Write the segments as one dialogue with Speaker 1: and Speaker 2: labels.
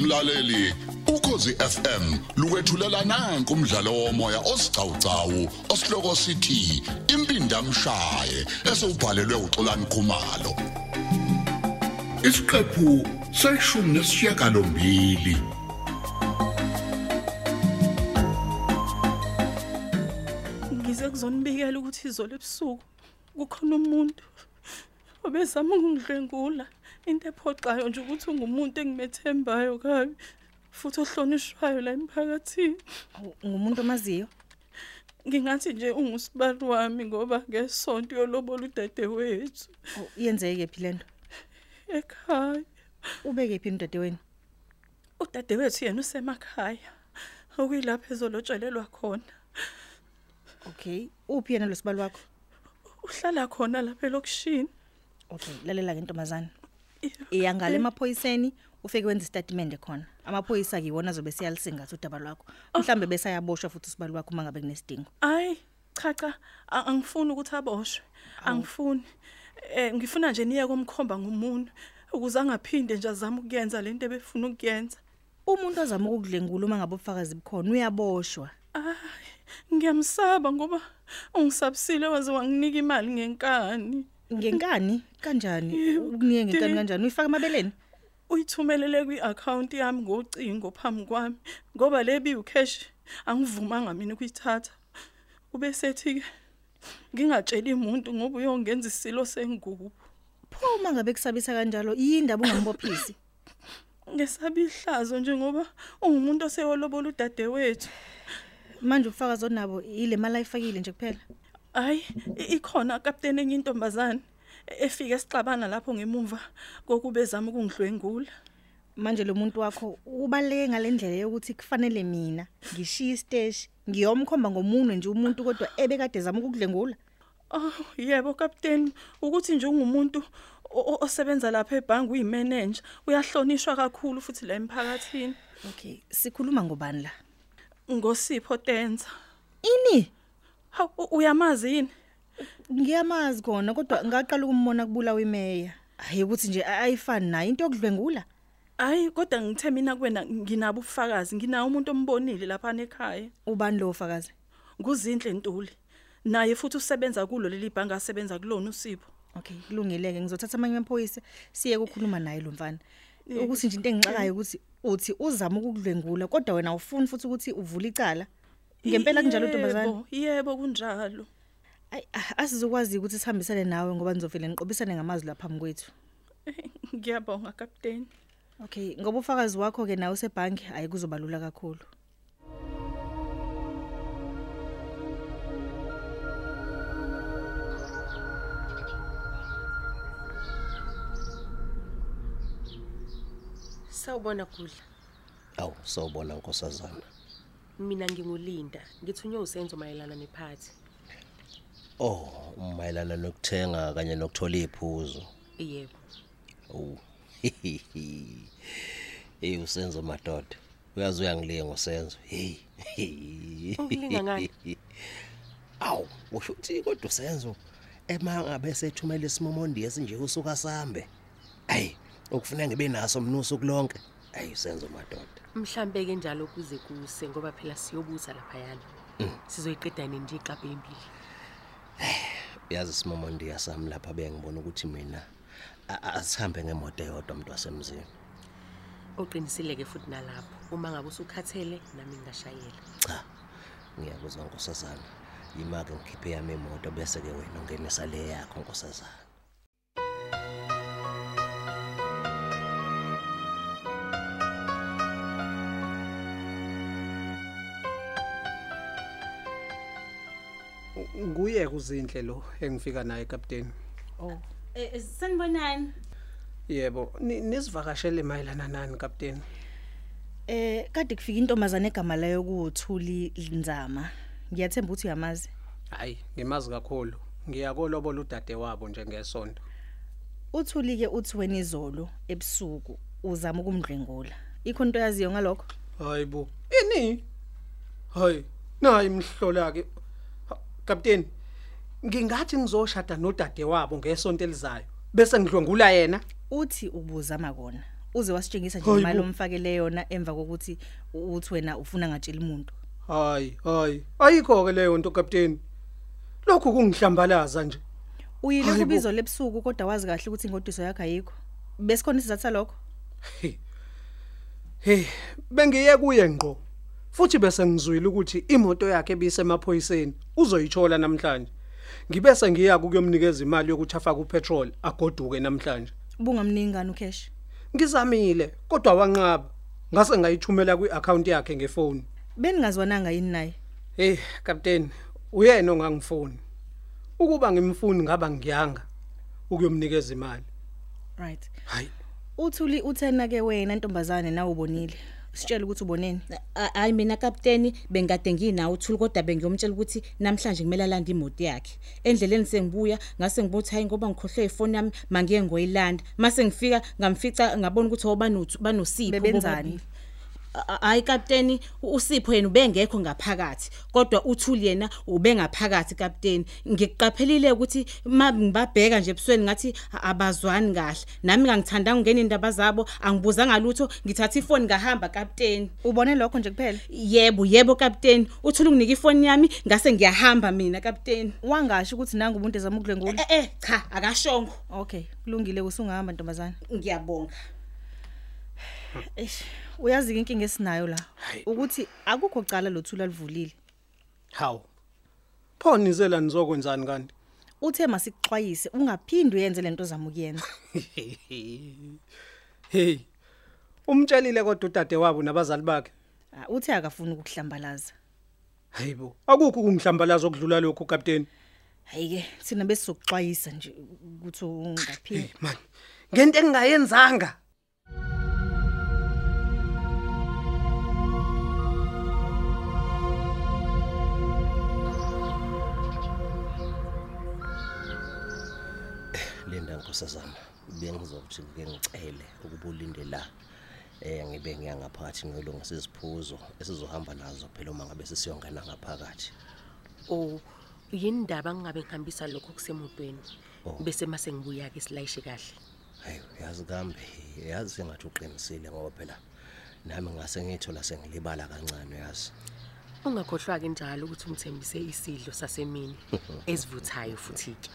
Speaker 1: mlaleli ukhosi FM lukwethulela nanku umdlalo womoya osiqhawqhawo osihloko sithi impindamshaye esubhalelwe uXolani Khumalo isiqephu seshumi nesishiyagalombili
Speaker 2: ngize kuzonibikela ukuthi izolo ebusuku kukhona umuntu obezama ukungidlwengula into ephoxayo nje ukuthi ungumuntu engimethembayo kabi futhi ohlonishwayo la emphakathini
Speaker 3: ngumuntu omaziyo
Speaker 2: ngingathi nje ungusibali wami ngoba ngesonto yolobolo udadewethu
Speaker 3: Oh, iyenzeke phi lento
Speaker 2: ekhaya
Speaker 3: ubeke phi umdadewenu
Speaker 2: udadewethu yena usemakhaya okuyilapho ezolotshelelwa khona
Speaker 3: okay uphi yena lo sibali wakho
Speaker 2: uhlala khona lapha elokishini
Speaker 3: okay Mm. lalela ke ntombazana
Speaker 2: Yebo.
Speaker 3: iyangale emaphoyiseni ufeke wenza istatimende khona amaphoyisa akiwona azobe siyalisingatha udaba lwakho mhlawumbe besayaboshwa futhi usibali wakho uma ngabe kunesidingo
Speaker 2: Ay cha cha a- angifuni ukuthi aboshwe angifuni eh ngifuna nje niye komkhomba ngumuntu ukuze angaphinde nje azame ukuyenza lento ebefuna ukuyenza
Speaker 3: umuntu ozama ukudlengula uma ngabe ubufakazi bukhona uyaboshwa
Speaker 2: ay ngiyamsaba ngoba ungisabisile waze wanginika imali ngenkani
Speaker 3: ngenkani kanjani ukunike ngenkani
Speaker 2: Ding.
Speaker 3: kanjani uyifaka emabeleni
Speaker 2: uyithumelele kwi-account yami ngocingo phambi kwami ngoba le biwucash angivumanga mina ukuyithatha ube sethi-ke ngingatsheli muntu ngoba uyongenza isilo sengubo
Speaker 3: pho uma ngabe kusabisa kanjalo yindaba ungambophisi
Speaker 2: ngesaba ihlazo njengoba ungumuntu oseyolobola udadewethu
Speaker 3: manje ubufakazi onabo ile mali ayifakile nje kuphela
Speaker 2: hayi i- ikhona kapteni enye intombazane e- efika esixabana lapho ngemuva kokuba ezama ukungidlwengula
Speaker 3: manje lo muntu wakho ubaleke ngalendlela yokuthi kufanele mina ngishiye isteshi ngiyomkhomba ngomunwe nje umuntu kodwa ebekade zama ukudlengula
Speaker 2: oh yebo kapteni ukuthi nje ungumuntu o- o- osebenza lapha ebhangi uyimeneja uyahlonishwa kakhulu futhi la emphakathini
Speaker 3: okay sikhuluma ngobani la
Speaker 2: ngosipho tenza
Speaker 3: ini
Speaker 2: hawu u- uyamazi yini
Speaker 3: ngiyamazi khona kodwa ngaqala ukumbona kubulawa imeya hayi ukuthi nje a- ayifani naye into yokudlwengula
Speaker 2: hayi kodwa ngithe mina kuwena nginabo ubufakazi nginawo umuntu ombonile lapha ekhaya
Speaker 3: ubani lo fakazi
Speaker 2: nguzinhle ntuli naye futhi usebenza kulo leli bhange asebenza kulona usipho
Speaker 3: okay kulungileke ngizothatha amanye amaphoyisa siye ukukhuluma naye lo mfana ukuthi nje into engixakayo ukuthi uthi uzama ukudlwengula kodwa wena awufuni futhi ukuthi uvule icala ngempela kunjalo ntombazane
Speaker 2: Yebo, yebo kunjalo
Speaker 3: Ayi, a- asizokwazi ukuthi sihambisane nawe ngoba nizovele niqobisane ngamazwi lapha phambi kwethu
Speaker 2: Eh, ngiyabonga kapteni
Speaker 3: okay ngoba ufakazi wakho-ke nawe usebhange hhayi kuzoba lula kakhulu
Speaker 4: Sawubona Gudla.
Speaker 5: Awu sawubona nkosazana.
Speaker 4: Mina ngingulinda. Ngithunywe usenzo mayelana nephathi.
Speaker 5: Oh, umayelana nokuthenga kanye nokuthola iphuzo.
Speaker 4: Yebo.
Speaker 5: Oh. Eh usenzo madoda. Uyazi uyangilinga usenzo. Hey.
Speaker 4: Ungilinga ngani?
Speaker 5: Awu, usho uthi kodwa usenzo emanga bese ethumela isimomondi esinje usuka sambe. Hayi, ukufuna ngibe naso mnusu kulonke. Hayi usenzo madoda.
Speaker 4: Mhlambe ke njalo kuze kuse ngoba phela siyobuza lapha yana. Sizoyiqedana nje iqaphe impili.
Speaker 5: Uyazi isimomondi yasami lapha bengibona ukuthi mina a- a- asihambe ngemoto eyodwa mntu wasemzini.
Speaker 4: Oqinisile ke futhi nalapho. Uma ngabe usukhathele nami ngingashayela.
Speaker 5: cha ngiyakuzwa nkosazana yima-ke ngikhiphe yami imoto bese-ke wena ungenisa le yakho nkosazana
Speaker 6: nguye kuzinhle lo engifika naye kapteni
Speaker 7: Eh, sanibonani
Speaker 6: yebo ni- nisivakashele mayelana nani kapteni
Speaker 3: eh kade kufika intombazane egama layo kuwuthuli nzama ngiyathemba ukuthi uyamazi
Speaker 6: hhayi ngimazi kakhulu ngiyakolobola udade wabo nje ngesonto
Speaker 3: uthuli-ke uthi wena izolo ebusuku uzama ukumdlwengula ikhona into oyaziyo ngalokho
Speaker 6: hhayi bo ini hhayi nayi mhlola-ke Ha, kapteni ngingathi ngizoshada nodade wabo ngesonto elizayo bese ngidlwengula yena
Speaker 3: uthi ubuzama kona uze wasitshengisa nje
Speaker 6: Hayi
Speaker 3: imali
Speaker 6: bo.
Speaker 3: omfakele yona emva kokuthi u- uthi wena ufuna ngatshela umuntu
Speaker 6: hayi hayi ayikho-ke leyo nto kapteni lokhu kungihlambalaza nje
Speaker 3: uyile
Speaker 6: Hayi bo.
Speaker 3: kubizo lebusuku kodwa wazi kahle ukuthi ingodiso yakho ayikho besikhona isizathu salokho
Speaker 6: Hey, bengiye kuye ngqo. Futhi bese ngizwile ukuthi imoto yakhe ebisemaphoyiseni uzoyithola namhlanje. Ngibese ngiya ukuyomnikeza imali yokuthi afake upetrol agoduke namhlanje.
Speaker 3: ubungamningani ucash
Speaker 6: Ngizamile kodwa wanqaba. Ngase ngayithumela kwi-account yakhe ngefoni.
Speaker 3: beningazwananga yini naye
Speaker 6: Hey, captain, uyena ongangifuni. Ukuba ngimfuni ngaba ngiyanga ukuyomnikeza imali.
Speaker 3: right
Speaker 6: Hayi.
Speaker 3: uthuli uthena ke wena ntombazane nawe ubonile sitshele ukuthi uboneni
Speaker 7: Ah, hayi mina kapteni bengikade nginawo uthuli kodwa bengiyomtshela ukuthi namhlanje kumele alande imoto yakhe endleleni sengibuya ngase ngibuthi hayi ngoba ngikhohlwe ifoni yami mangiye ngoyilanda mase ngifika ngamfica ngabona ukuthi o bano- banosipho
Speaker 3: Bebenzani?
Speaker 7: bobabili. A- hayi kapteni u- usipho yena ubengekho ngaphakathi kodwa uthuli yena ubengaphakathi kapteni ngikuqaphelile ukuthi ma ngibabheka nje ebusweni ngathi a- abazwani kahle nami ngangithandanga ungena indaba zabo angibuzanga lutho ngithatha ifoni ngahamba kapteni
Speaker 3: ubone lokho nje kuphela
Speaker 7: yebo yebo kapteni uthule unginika ifoni yami ngase ngiyahamba mina kapteni
Speaker 3: wangasho ukuthi nanga umuntu ezama ukudlwengula
Speaker 7: eh eh cha akashongo
Speaker 3: okay kulungile kusungahamba ntombazane
Speaker 7: ngiyabonga
Speaker 3: eish uyazi ke inkinga esinayo la ukuthi akukho cala lothula livulile
Speaker 6: Haw. Pho nizela nizokwenzani kanti?
Speaker 3: uthe masikuxwayise ungaphindi uyenze lento zama ukuyenza
Speaker 6: Hey. Umtshelile kodwa udade wabo nabazali bakhe.
Speaker 3: Ah, uthe akafuni ukukuhlambalaza
Speaker 6: Hayibo. Akukho ukungihlambalaza okudlula lokho kapteni.
Speaker 3: hayi ke thina besizokuxwayisa nje ukuthi ungaphindi
Speaker 6: Man. Ngento engingayenzanga.
Speaker 5: Linda nkosazana, bengizokuthi ngike ngicele ukuba ulinde la. Eh ngibe ngiyangaphakathi ngilungisa iziphuzo esizohamba nazo phela uma ngabe sesiyongena ngaphakathi.
Speaker 4: Oh, yini indaba ngingabe ngihambisa lokho kusemotweni. Bese mase ngibuya ke silayishe kahle.
Speaker 5: Hayi, yazi kambe, yazi sengathi uqinisile ngoba phela nami ngase ngithola sengilibala kancane yazi.
Speaker 4: Ungakhohlwa ke njalo ukuthi ungithembise isidlo sasemini esivuthayo futhi ke.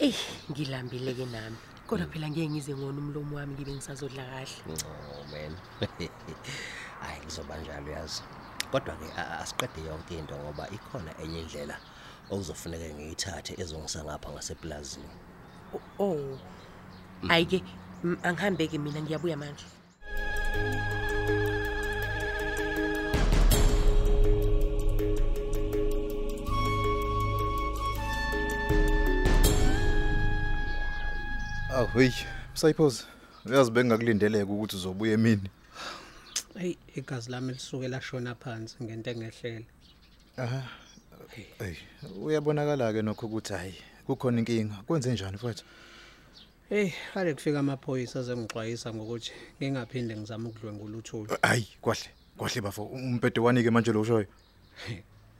Speaker 4: Eh, ngilambile ke nami. Kodwa phela ngeke ngize ngona umlomo wami ngibe ngisazodla kahle.
Speaker 5: Oh man. Hayi kuzoba njalo yazi. Kodwa ke a- asiqede yonke into ngoba ikhona enye indlela okuzofuneka ngiyithathe ezongisa ngapha ngaseplazini.
Speaker 4: O- Oh. Hayi ke mm, angihambe ke mina ngiyabuya manje.
Speaker 8: Ahoy, Msayiphoza. Uyazi bengakulindeleke ukuthi uzobuya emini.
Speaker 6: Hey, igazi lami lisuke lashona phansi ngento engehlele.
Speaker 8: Ey, uyabonakala ke nokho ukuthi hayi kukhona inkinga. Kwenze njani mfowethu?
Speaker 6: Hey, hale kufika amaphoyisa azongixwayisa ngokuthi ngingaphinde ngizame ukudlwengula uThuli.
Speaker 8: Hayi, kwahle. Kwahle bafo. Umpede wanike manje lo ushoyo.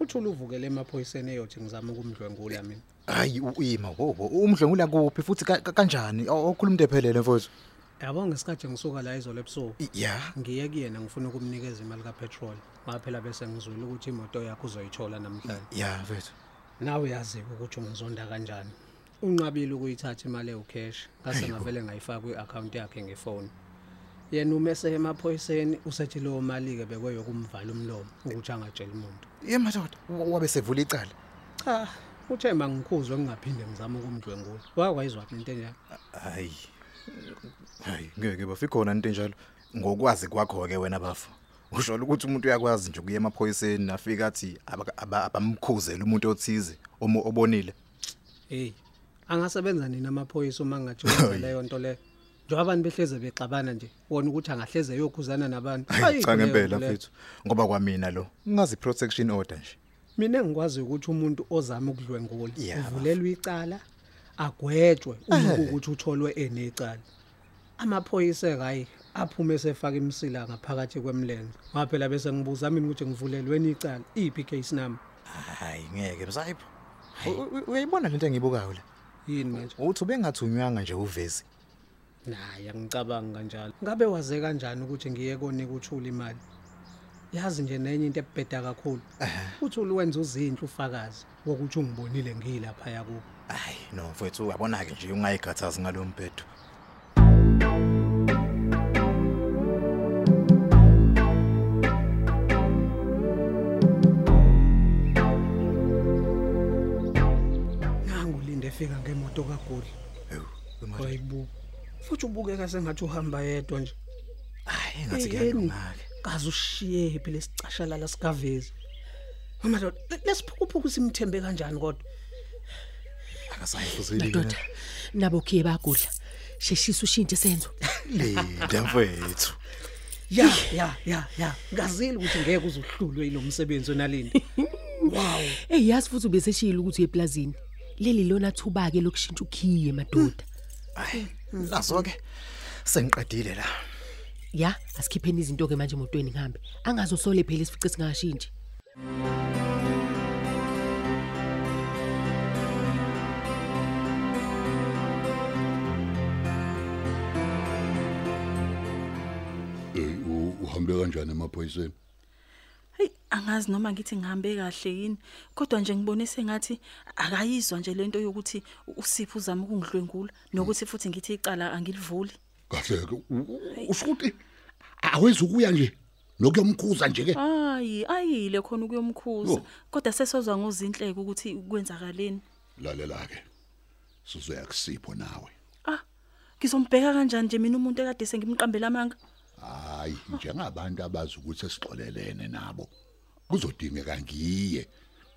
Speaker 6: uThuli uvukele emaphoyiseni eyothi ngizame ukumdlwengula mina.
Speaker 8: Hayi, u- ima wo wo. Umdlengula kuphi futhi ka- ka- kanjani? Okhuluma into ephelele mfowethu.
Speaker 6: Yabo ngesikhathi ngisuka la izolo ebusuku.
Speaker 8: I- Yeah.
Speaker 6: Ngiye kuyena ngifuna ukumnikeza imali kapetrol. Ngaphela bese ngizwile ukuthi imoto yakhe uzoyithola namhlanje.
Speaker 8: Yeah mfowethu.
Speaker 6: Nawe yazi ukuthi ungizonda kanjani. Unqabile ukuyithatha imali eucash, ngase ngavele ngayifaka kwi-account yakhe ngefoni. Yena umese emaphoyiseni usethi leyo mali ke bekweyokumvala umlomo ukuthi angatshela umuntu.
Speaker 8: Yemadoda, wabe sevula icala.
Speaker 6: Cha, uthe mangikhuzwe ngingaphinde ngizama ukumdlwengula. Wakwayizwa into enjalo.
Speaker 8: Hayi. Hayi, ngeke bafike khona into enjalo. Ngokwazi kwakho ke wena bafo. Usho ukuthi umuntu uyakwazi nje kuye emaphoyiseni afika athi aba- aba- abamkhuzela umuntu othize omo obonile.
Speaker 6: Hey, angasebenza nini amaphoyisa uma
Speaker 8: Oh,
Speaker 6: ngingathi leyo nto le? Njengoba abantu behleze bexabana nje, wona ukuthi angahleze yokhuzana nabantu.
Speaker 8: Hayi cha
Speaker 6: leyo
Speaker 8: ngempela
Speaker 6: nto leyo.
Speaker 8: mfethu ngoba kwamina lo ngazi protection order nje.
Speaker 6: Mina engikwazi ukuthi umuntu ozama ukudlwengula
Speaker 8: Yeah, bafo.
Speaker 6: uvulelwe icala agwetshwe uma ukuthi utholwe enecala. Amaphoyisa hayi aphume sefaka imsila ngaphakathi kwemlenze. Ngaphela bese ngibuza mina ukuthi ngivulelweni icala, iphi case number?
Speaker 8: Hayi ngeke msayipho. U- u- Uyayibona lento engiyibukayo la.
Speaker 6: Yini manje?
Speaker 8: Uthi bengathunywanga nje uvezi.
Speaker 6: naye angicabangi kanjalo ngabe waze kanjani ukuthi ngiye konika uthula imali yazi nje nenye into ebheda kakhulu uthula wenza uzinhle ufakazi wokuthi ungibonile ngiyilaphaya kubo
Speaker 8: hayi no mfowethu uyabona-ke nje ungayikhathazi ngalo mbhedo
Speaker 6: nangu ulinde efika ngemoto kagudla
Speaker 8: Ewu, imali-
Speaker 6: wayibuka futhi ubukeka sengathi uhamba yedwa nje
Speaker 8: hayi engathi
Speaker 6: Yini?
Speaker 8: kuyalungake
Speaker 6: kaze usishiyephi lesicashalala sikavezi amadoda le- lesiphukuphuku simthembe kanjani kodwa
Speaker 8: akasayi
Speaker 4: madoda
Speaker 8: futhi
Speaker 4: nabo khiye bagudla sheshisa ushintshe senzo
Speaker 8: ndamfowethu
Speaker 6: ya ya ya ya ngazile ukuthi ngeke uzuhlulwe yilo msebenzi onalini wow
Speaker 4: eyi yazi futhi ubeseshiyile ukuthi uye eplazini leli lona thuba-ke lokushintsha ukhiye madoda
Speaker 8: hayi naso-ke sengiqedile la
Speaker 4: ya asikhipheni izinto-ke manje emotweni ngihambe angazosole phela isifice singakashintshi
Speaker 1: Eh, u- uhambe kanjani emaphoyiseni
Speaker 2: Hey, angazi noma ngithi ngihambe kahle yini, kodwa nje ngibone sengathi akayizwa nje lento yokuthi u- uSipho uzama ukungidlwengula nokuthi futhi ngithi icala angilivuli.
Speaker 1: kahle ke usukuthi awezi ukuya nje nokuyomkhuza nje
Speaker 2: Ah.
Speaker 1: ke
Speaker 2: Hayi, ayile khona ukuyomkhuza,
Speaker 1: Yo.
Speaker 2: kodwa sesozwa ngozinhleke ukuthi kwenzakaleni.
Speaker 1: lalela ke sizoya kusipho nawe
Speaker 2: Ah, ngizombheka kanjani nje mina umuntu ekade sengimqambela amanga?
Speaker 1: hayi njengabantu abazi ukuthi sixolelene nabo kuzodingeka ngiye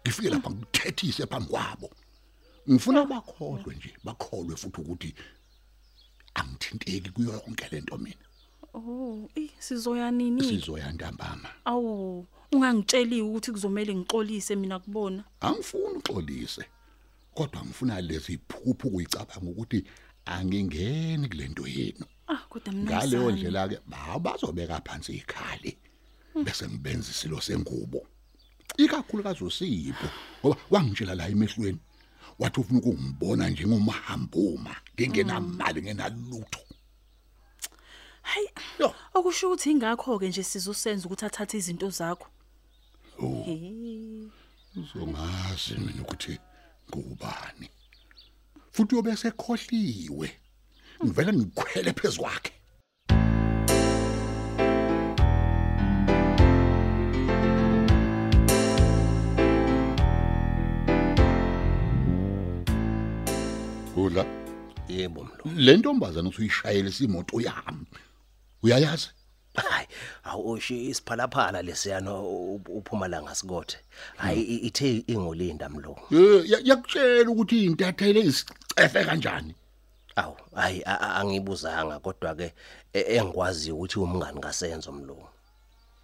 Speaker 1: ngifike lapha ngikuthethise phambi kwabo ngifuna bakholwe nje bakholwe futhi ukuthi angithinteki kuyo yonke lento mina
Speaker 2: Oh, eh sizoya nini?
Speaker 1: sizoyantambama
Speaker 2: Awu, ungangitsheli ukuthi kuzomela ngixolise mina kubona.
Speaker 1: angifuni uxolise kodwa ngifuna lezi phuphu kuyicabanga ukuthi angingeni kule nto yenu
Speaker 2: Ah, kodwa mina
Speaker 1: ngaleyo
Speaker 2: ngisale.
Speaker 1: ndlela ke bazobeka phansi ikhali bese ngibenza isilo sengubo ikakhulukazi usipho ngoba wangitshela la emehlweni wathi ufuna ukungibona njengomahambuma ngingenamali ngenalutho
Speaker 2: Hayi.
Speaker 1: Yo.
Speaker 2: Okusho ukuthi ingakho ke nje sizosenza ukuthi athathe izinto zakho.
Speaker 1: Oh.
Speaker 2: Hey.
Speaker 1: uzongazi mina ukuthi ngubani futhi uyobe sekhohliwe ngivele ngikhwele phezu kwakhe Ula
Speaker 5: yebo mlo
Speaker 1: le ntombazana usuyishayela isimoto yami uyayazi
Speaker 5: hayi awushiye isiphalaphala lesiyana u- u- uphumalanga sikothe hayi i- ithe ingolinda mlo
Speaker 1: Eh, ya- yakutshela ukuthi intathele isicefe kanjani
Speaker 5: awu hayi a- a- angibuzanga kodwa ke e, engikwaziyo ukuthi umngani kasenzo mlo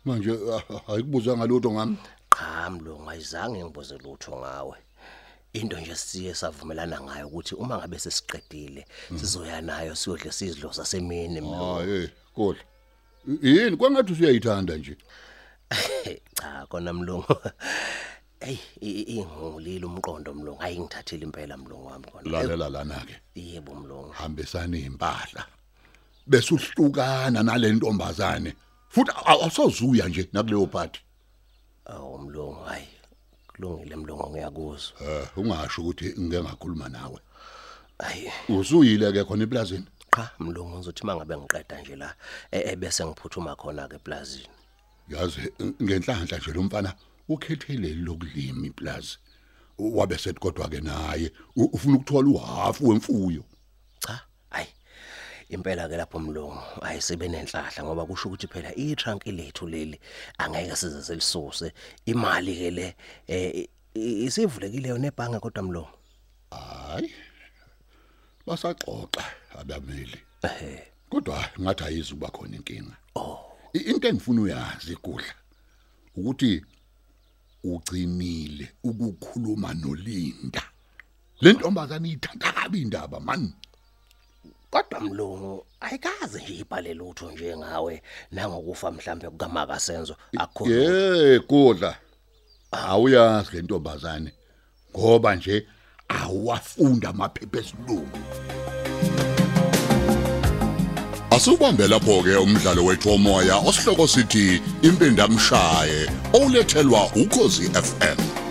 Speaker 1: manje ah, ayikubuzanga lutho ngami
Speaker 5: cha mlo ngayizange ngibuze lutho ngawe into nje siye savumelana ngayo ukuthi uma ngabe sesiqedile sizoya nayo siyodle sizidlo sasemini mlo
Speaker 1: hayi kodwa yini kwangathi usuyayithanda nje
Speaker 5: cha kona mlungu Ey ingulile umqondo mlungu ayingithathile impela mlungu wami kona
Speaker 1: lalela lana ke
Speaker 5: yebo mlungu
Speaker 1: hambisana impahla bese uhlukana nalentombazane futhi aw- awusozuya nje nakuleyo party
Speaker 5: awu mlungu hayi kulungile mlungu ngiyakuzwa
Speaker 1: eh ungasho ukuthi ngeke ngakhuluma nawe
Speaker 5: hayi
Speaker 1: usuyile ke khona eplazini
Speaker 5: cha mlungu ngizothi mangabe ngiqeda nje la e- ebese ngiphuthuma khona ke eplazini
Speaker 1: yazi n- ngenhlanhla nje lo mfana ukhethele lokulima iplazi wabe sethi kodwa ke naye u- ufuna ukuthola uhafu wemfuyo
Speaker 5: cha hayi impela ke lapho mlungu ayisebe nenhlahla ngoba kusho ukuthi phela itranki lethu leli angeke size selisuse imali ke le eh, i- isivulekile yona ebhange kodwa mlungu
Speaker 1: hayi basaxoxa abameli
Speaker 5: ehe
Speaker 1: kodwa ngathi ayizuba khona inkinga I- into engifuna uyazi kudla ukuthi ugcinile ukukhuluma nolinda le ntombazana ithanda kabi indaba mani
Speaker 5: kodwa mlungu ayikaze nje ibhale lutho nje ngawe nangokufa mhlambe kukamaka senzo akukho
Speaker 1: ye kudla awuyazi le ntombazane ngoba nje awafunda amaphepha esilungu Asubambe lapho ke umdlalo wethu womoya osihloko sithi impindamshaye olethelwa ukozi FM